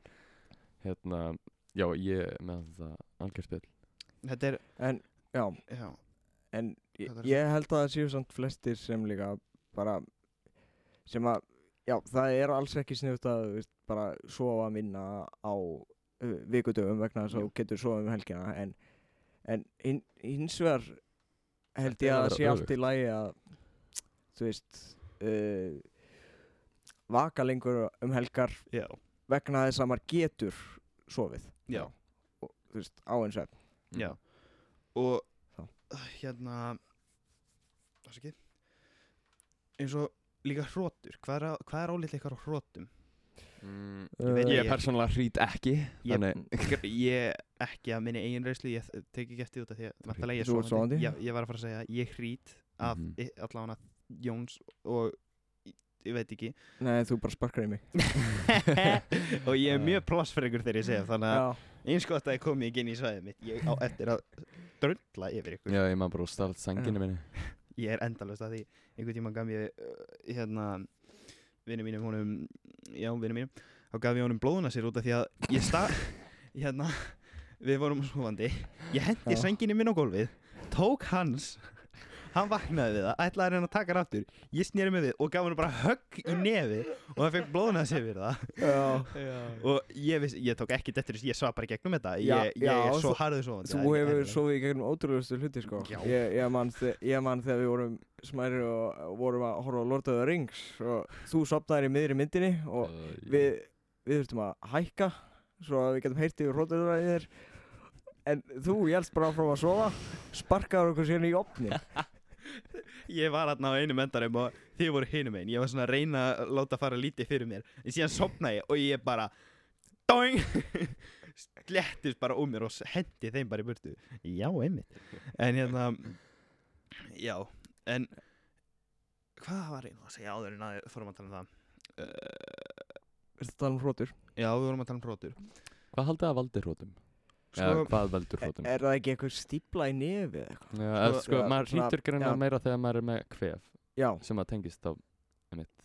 S2: Hérna, já, ég með þetta algjörspill
S1: þetta er,
S3: en, já,
S1: já,
S3: en ég,
S1: Hvað er-
S3: ég held að það séu samt flestir sem líka bara sem að, já, það er alls ekki sniðut að þú veist, bara sofa minna á uh, vikudöfum vegna þess að þú getur sofa um helgina en, en hin, hins vegar held
S2: Þetta er
S3: ég
S2: að
S3: að
S2: vera
S3: það sé allt í lagi að þú veist uh, vaka lengur um helgar
S1: já,
S3: vegna þess að maður getur sofið
S1: Já.
S3: og, þú veist, á eins og
S2: Mm.
S1: já og
S3: Já.
S1: hérna afsakið. eins og líka hrótur hvað er, á- hvað er álítið ykkar á hrótum
S2: mm,
S1: Ég veit
S2: Ég
S1: ekki.
S2: persónulega hrýt ekki
S1: Ég-
S2: Þannig,
S1: ég ekki að minni eigin reyslu ég eh, tek ekki eftir út af því að væntanlega ég
S3: Þú
S1: er
S3: ert
S1: sofandi
S3: Mhm. sofandi?
S1: ég, ég var að fara að segja, ég hrít af
S2: Mhm.
S1: mm. allan að Jóns og í- ég veit ekki
S3: Nei, þú bara sparkar í mig
S1: og ég er mjög plássfregur þegar ég segja þannig
S3: Já,
S1: að eins gott að ég komi ekki inn í svæðið mitt ég á eftir að dröndla yfir ykkur
S2: Já, ég maður bara stalt sanginu minni
S1: ég er endalust að því einhvern tíma gaf ég uh, hérna vinnu mínum honum já vinnu mínum þá gaf ég honum blóðuna sér út af því að ég sta hérna við vorum svovandi ég hendi
S3: Já.
S1: senginu minn á gólfið tók hans hann vaknaði við það ætlaði að reyna að taka hann aftur ég snýri með við og gaf hann bara högg í nefi og það fekk blóðuna sér við það
S3: já
S1: og ég, viss, ég tók ekki dettur ég svað bara í gegnum þetta ég,
S3: Já,
S1: ég
S3: já,
S1: er svo
S3: þú-
S1: harður svovandi
S3: Þú hefur sofið í gegnum ótrúlustu hluti sko
S1: Já.
S3: Ég, ég, man, þe- ég man þegar við vorum smæri og vorum að horfa á Lord of the Rings og þú sopnaðir í miðri myndinni
S2: Uh,
S3: og við, við þurftum að hækka svo að við getum heyrt yfir hrótuðuræðið þér en þú hjælst bara áfram að sofa sparkaður okkur síðan í opni
S1: Ég var hérna á einum endarum og þið voru hinum einn Ég var svona að reyna að láta fara lítið fyrir mér En síðan sopna ég og ég bara Doing Slettist bara úr mér og hendi þeim bara í burtu Já, einmitt En hérna Já, en Hvað var ég nú að segja áður en að fórum að tala um það uh,
S3: Viltu tala um hrótur?
S1: Já, við vorum að tala um hrótur
S2: Hvað haldið að valdi hrótum?
S1: Sko-
S2: Eða hvað veldur
S3: Er,
S2: hrótum?
S3: er það ekki eitthvað stípla í nefið eða eitthvað?
S2: Já, eða
S1: E- sko-
S2: sko,
S3: Já,
S2: maður
S3: svona-
S2: hýtur greina
S3: já.
S2: meira þegar maður er með kvef
S3: Já,
S2: sem að tengist á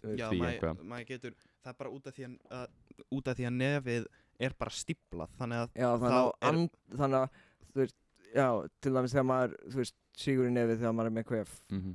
S3: Því
S1: Já,
S2: því
S1: maður
S2: eitthvað.
S1: mað getur Það er bara út af því að, að, út af því að nefið er bara stíplað Þannig að
S3: já þannig, að
S1: Þá er-
S3: and, þannig að þú veist, já, til dæmis þegar maður þú veist, sígur í nefið þegar maður er með kvef
S2: mm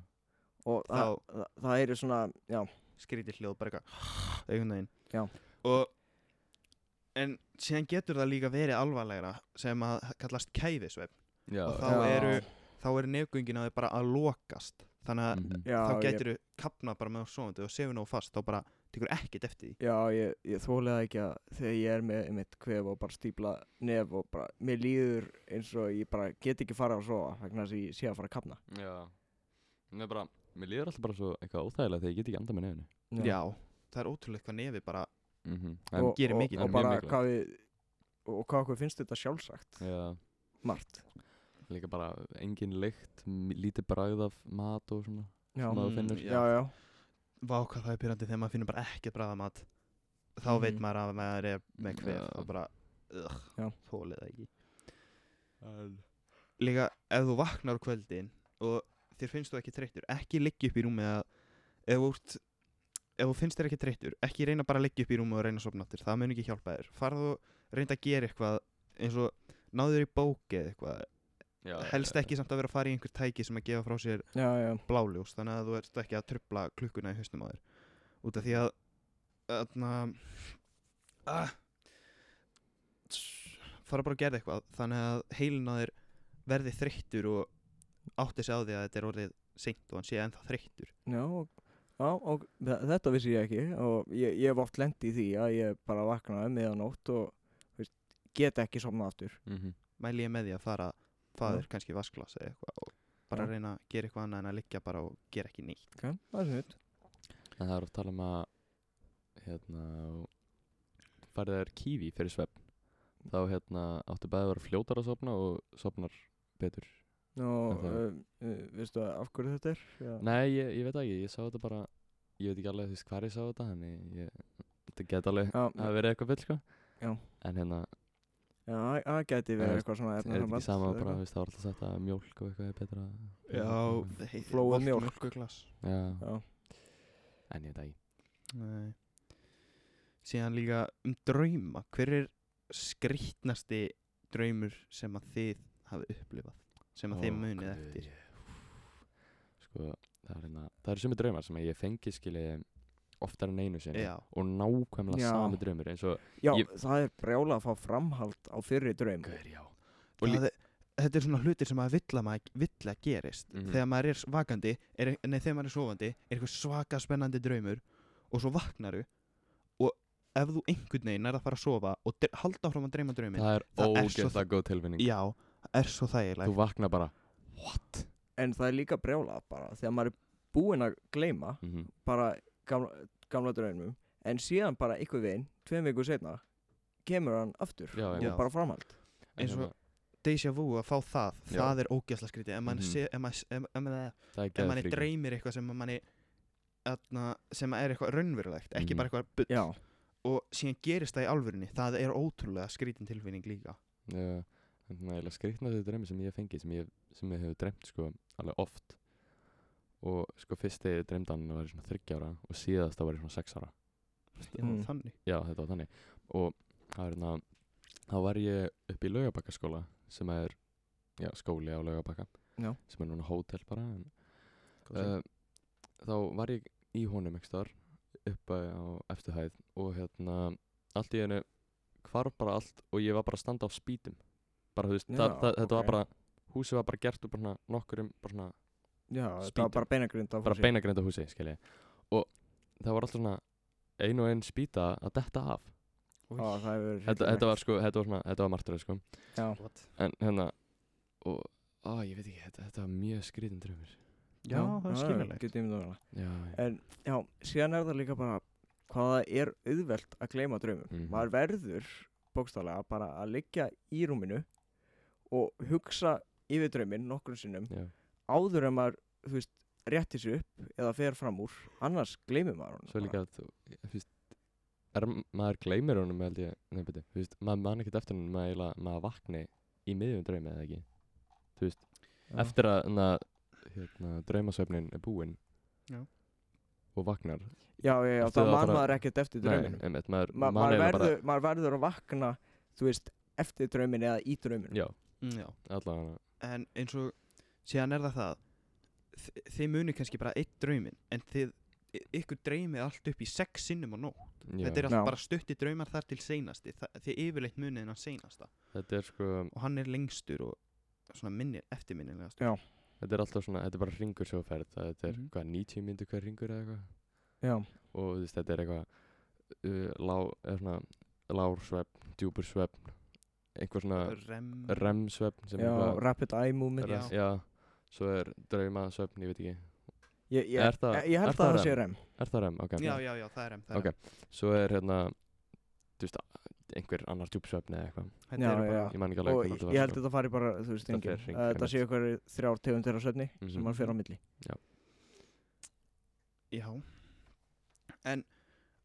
S3: og það,
S1: þá
S3: það, það er svona, já,
S1: skrítið hljóð bara eitthvað einhvern veginn
S3: Já.
S1: og en síðan getur það líka verið alvarlegra sem að kallast kæfisvepp
S2: Já,
S1: og þá
S2: já.
S3: Já.
S1: eru þá eru nefgöngin að þau bara að lokast þannig að
S2: Mhm.
S3: já
S1: þá
S3: ég,
S1: getur þau kapnað bara með á svoandi og sefur nóg fast þá bara tekur ekkert eftir því
S3: Já, ég, ég þólega ekki að þegar ég er með mitt kvef og bara stípla nef og bara, mér líður eins og ég bara get ekki fara að sofa vegna þess að ég sé að fara að kapna
S2: Já. Mér bara, mér líður alltaf bara svo eitthvað óþægilega þegar ég get ekki andað með nefnu.
S1: já, það er ótrúlega hvað nefi bara
S2: Mm -hmm.
S3: og,
S1: gerir
S3: og,
S1: mikið.
S3: og,
S2: En mjög
S3: bara
S2: mikilvægt.
S3: hvað við og hvað okkur finnst þetta sjálfsagt
S2: Já,
S3: margt
S2: líka bara engin lykt, m- lítið bragð af mat og svona.
S3: já,
S2: Maður
S1: Mm,
S2: finnur.
S3: já, já,
S1: vá hvað það er pyrrandi þegar maður finnur bara ekkert bræða mat þá
S3: Mhm.
S1: veit maður að maður er með kvef
S2: Já.
S1: og bara
S3: Já.
S1: ugh, þólið það ekki líka ef þú vaknar á kvöldin og þér finnst þú ekki treyttur ekki liggja upp í rúmi að ef þú, ert, ef þú finnst þér ekki treyttur ekki reyna bara að liggja upp í rúmi og reyna að sofna aftur það mun ekki hjálpa þér farðu og reynda að gera eitthvað eins og náðu þér í bóki eða eitthvað
S2: Já,
S1: helst ekki samt að vera að fara í einhver tæki sem að gefa frá sér
S3: já, já.
S1: bláljós þannig að þú ert ekki að trubla klukkuna í hausnum á þér út af því að þarna að fara bara að gera eitthvað þannig að heilin á þér verði þreyttur og átti sig á því að þetta er orðið seint og hann sé ennþá þreyttur
S3: Já, og, já, og þe- þetta vissi ég ekki og ég, ég hef oft lendi í því að ég bara vaknaði meðanótt og þú veist, get ekki somna aftur
S2: Mm -hmm.
S1: mæli ég með því að fara
S3: Já.
S1: faður ja. kannski vasklas eða eitthvað og bara
S3: Já.
S1: reyna að gera eitthvað annað en að liggja bara og gera ekki neitt
S3: okay. það er snitt
S2: En það er að tala um að, hérna, farið þær kífi fyrir svefn. Þá, hérna, áttu bæði að vera fljótar að sopna og sopnar betur.
S3: og
S2: Er það?
S3: um, uh, veistu af hverju þetta er? Já.
S2: Nei, ég, ég veit það ekki, ég sá þetta bara Ég veit ekki alveg þú veist hvar ég sá þetta Þannig ég, þetta get alveg
S3: Já,
S2: að verið eitthvað fyll sko
S3: Já.
S2: En hérna,
S3: já, það- það geti
S2: Er-
S3: verið eitthvað svona
S2: er þetta ekki
S3: efnasamband
S2: sama
S3: eða
S2: bara,
S3: eitthvað.
S2: þú veist, það var alltaf sagt að mjólk og eitthvað er betra
S1: já, hei-
S3: Flóð
S1: volgt
S3: mjólk.
S1: mjólkurglas.
S2: Já,
S3: Já,
S2: en ég veit það ekki
S1: Nei. Síðan líka um drauma Hver er skrýtnasti draumur sem að þið hafið upplifað sem að
S2: Ó,
S1: þið munið
S2: guð,
S1: eftir
S2: ég- Sko, það er hérna Það eru sumi draumar sem að ég fengi skili oftar en einu sinni
S1: Já.
S2: Og nákvæmlega
S3: Já.
S2: sami draumur eins og
S3: já
S2: Ég-
S3: það er brjála að fá framhald á fyrri draum
S2: Gauður, já Og
S1: Það er- Þetta er svona hlutir sem að vill að maður vill að gerist
S2: Mhm.
S1: þegar maður er vakandi er, nei þegar maður er sofandi er eitthvað svaka spennandi draumur og svo vaknaru og ef þú einhvern veginn er að fara að sofa og dr- halda áfram að dreyma draumin
S2: Það er
S1: Það er svo-
S2: ógeðslega góð tilfinning
S1: Já, það er svo þægileg
S2: Þú vakna bara
S3: en það er líka brjála bara þegar maður er búinn að gleyma
S2: mm
S3: bara gamla, gamla draunum en síðan bara ykkur veginn, tveim vikur setna kemur hann aftur
S2: Já,
S3: og
S1: já.
S3: bara framhald
S1: Eins
S2: hérna,
S1: og- Deja vu að fá það,
S2: Já.
S1: það er ógæsla skrítið ef maður
S2: Mhm.
S1: sé- ef maður- ef- ef maður
S2: Það er
S1: ef manni
S2: geðfríkun.
S1: dreymir eitthvað sem manni atna, sem er eitthvað raunverulegt ekki
S2: Mhm.
S1: bara eitthvað bull
S3: já,
S1: og síðan gerist það í alvörinni það er ótrúlega skrítin tilfinning líka
S2: Já, þannig að skrýtna þau dreymi sem ég hef fengið sem ég, sem ég hef dreymt sko alveg oft og sko fyrst þegar ég dreymd hann var ég svona 30 ára og síðast það var ég svona 6 ára
S1: Já,
S3: Mm.
S1: þannig
S2: já þetta var þannig og það var hérna þá var ég upp í laugabakkaskóla sem er já, skóli á laugabakka
S3: Já.
S2: sem er núna hótel bara en,
S3: Góð
S2: uh, þá var ég í honum ekki þar upp á eftirhæð og hérna allt í hennu hvarf bara allt og ég var bara að standa á spýtum bara þú veist, það,
S3: Já,
S2: það, þetta
S3: ok.
S2: var bara húsið var bara gert úr bara svona nokkurum bara svona
S3: já, þetta
S2: spýtu.
S3: var bara beinagrind af
S2: bara
S3: húsi.
S2: beinagreinda húsi, skilji og það var alltaf svona ein og ein spýta að detta af
S3: Já, það hefur
S2: þetta, þetta var sko, þetta var svona, þetta var martröð sko
S3: já,
S2: en hérna og, á ég veit ekki, þetta, þetta var mjög skrýtin drömmir
S1: Já, það er skiljanlegt
S3: get ég myndið vera
S2: já, já,
S3: En já, síðan er það líka bara hvað það er auðvelt að gleyma draumum.
S2: Mhm.
S3: Maður verður bókstálega bara að liggja í rúminu og hugsa yfir drauminn nokkrum sinnum
S2: já.
S3: áður en maður, þú veist, réttir sér upp eða fer fram úr, annars gleymir maður honum
S2: svo
S3: bara.
S2: líka að þú, þú veist er, maður gleymir honum held ég, nei betur, þú veist maður man ekkert eftir honum, maður, eiginlega- maður vakni í miðjum draumi eða ekki þú veist,
S3: Já.
S2: eftir að na, hérna, draumasöfnin er búin
S1: Já.
S2: og vaknar
S3: Já, já, já,
S2: Eftir
S3: þá
S2: það
S3: man
S2: bara-
S3: maður ekkert eftir drauminum.
S2: einmitt, maður,
S3: Ma
S2: man
S3: maður,
S2: eiginlega
S3: verður, maður verður að vakna, þú veist, eftir drauminu eða í drauminu.
S2: já,
S1: Mm, já.
S2: allavega
S1: en eins og síðan er það það þi- þið muni kannski bara eitt draumin en þið y- ykkur dreymið allt upp í sex sinnum á nótt
S2: já,
S1: þetta er alltaf
S3: Já.
S1: bara stutti draumar þar til seinasti Þa, þið yfirleitt munið en að seinasta
S2: þetta er sko
S1: og hann er lengstur og svona minni, eftirminnilegast
S3: Já.
S2: þetta er alltaf svona, þetta er bara ringur svo ferð það- þetta er
S1: Mhm.
S2: hvað, 90 myndir hver ringur eða eitthvað
S3: Já,
S2: og þú veist, þetta er eitthvað uh, lá, er svona, lár svefn, djúpur svefn einhver svona
S1: rem,
S2: remsvefn sem
S3: já,
S2: er
S3: rapid eye movement.
S1: Já.
S2: já. já, svo er draumasvefn, ég veit ekki
S3: Ég, ég,
S2: Er það-
S3: ég
S2: er
S3: held
S2: það
S3: að það sé
S2: REM?
S3: rem.
S2: er það rem, ok
S1: já, já, já, það er rem, það er
S2: Ok. svo er hérna þú veist, einhver annar djúpsvefn eða eitthvað
S1: rem. Þetta
S3: Já,
S1: eru bara-
S3: já.
S2: ég man ekki alveg
S3: og
S2: hvernig
S3: ég
S2: þetta
S3: ég
S2: var
S3: held
S2: sko.
S3: að þetta fari bara þú veist,
S2: Þetta
S3: engin,
S2: fer hring,
S3: að þetta
S2: einmitt.
S3: séu eitthvað þrjár tegundir á svefni sem
S2: Mhm.
S3: maður fer á milli
S1: Já En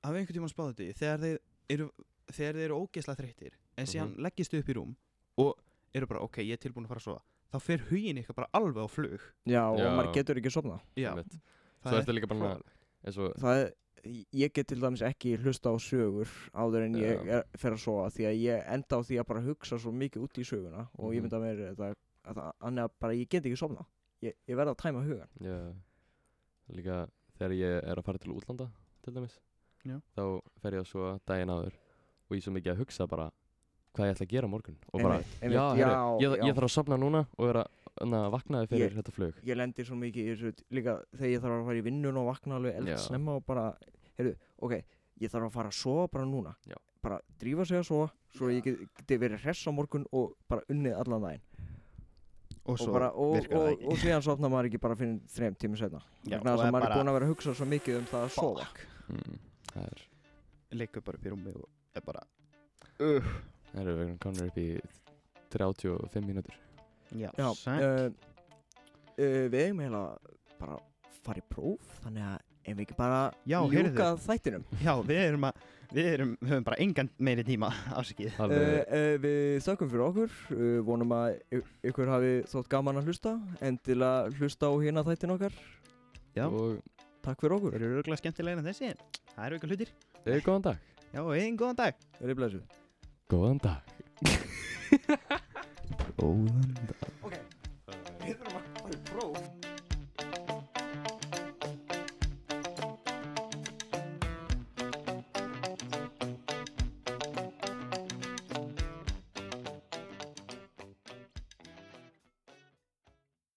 S1: hafið einhvern tímann spáð þetta í þegar þeir eru, þegar þeir eru ógeðslega þreyttir en síðan
S2: Mhm.
S1: leggist þau upp í rúm og eru bara ok, ég er tilbúin að fara að sofa þá fer hugin ykkar bara alveg á flug
S3: já, og
S2: Já.
S3: maður getur ekki sofna
S1: Já,
S2: Einmitt.
S1: það
S2: svo
S1: er
S2: ertu líka bara svona- eins og
S3: það er, ég get til dæmis ekki hlusta á sögur áður en ég
S2: Já.
S3: er, fer að sofa því að ég enda á því að bara hugsa svo mikið út í söguna og ég
S2: Mhm.
S3: mynda mér þetta að það- annað að bara ég get ekki sofna ég, ég verð að tæma hugan
S2: Já, líka þegar ég er að fara til útlanda til dæmis
S1: Já.
S2: þá fer ég að svo daginn áður og ég er svo mikið að hugsa bara hvað ég ætla að gera á morgun og bara,
S3: Einmitt, einmitt,
S2: já,
S3: já,
S2: heyrðu, ég,
S3: já.
S2: ég þarf að sofna núna og vera na, vaknaði fyrir
S3: Ég-
S2: þetta flug
S3: ég lendir svo mikið í þessu líka þegar ég þarf að fara í vinnun og vakna alveg eld
S2: Já.
S3: snemma og bara, heyrðu, ok ég þarf að fara að sofa bara núna
S2: Já.
S3: bara drífa sig að sofa svo
S1: Já.
S3: ég get- geti verið hress á morgun og bara unnið allan daginn
S1: og svo
S3: og, bara, og,
S1: virkar
S3: og,
S1: það
S3: og,
S1: ekki
S3: síðan sofna maður ekki bara fyrir þreim tími setna
S1: Já,
S3: vegna þess
S1: er
S3: að maður er
S1: bara
S3: búin að vera að hugsa svo mikið um það að sofa
S1: fuck.
S2: mm. það er,
S1: Liggur bara upp í rúmi og er bara
S2: það eru við komnir upp í 35 mínútur
S1: Já,
S3: já,
S1: sæl
S3: uh, uh, við eigum heila bara fara í próf þannig að ef við ekki bara
S1: Já,
S3: ljúka
S1: heyrðu.
S3: þættinum
S1: Já, við erum að Við erum, við höfum bara engan meiri tíma afsikið
S2: alveg,
S3: Uh, uh, við þökkum fyrir okkur, uh, vonum að y- ykkur hafi þótt gaman að hlusta en til að hlusta á hérna þættin okkar,
S1: já.
S2: og
S3: takk fyrir
S1: Þeir
S3: okkur,
S1: eru örgulega skemmtilega en þessi Það eru ykkur hlutir
S2: eða eh, góðan dag
S1: Já, einn góðan dag
S3: verið blessuð
S2: góðan dag
S1: Góðan dag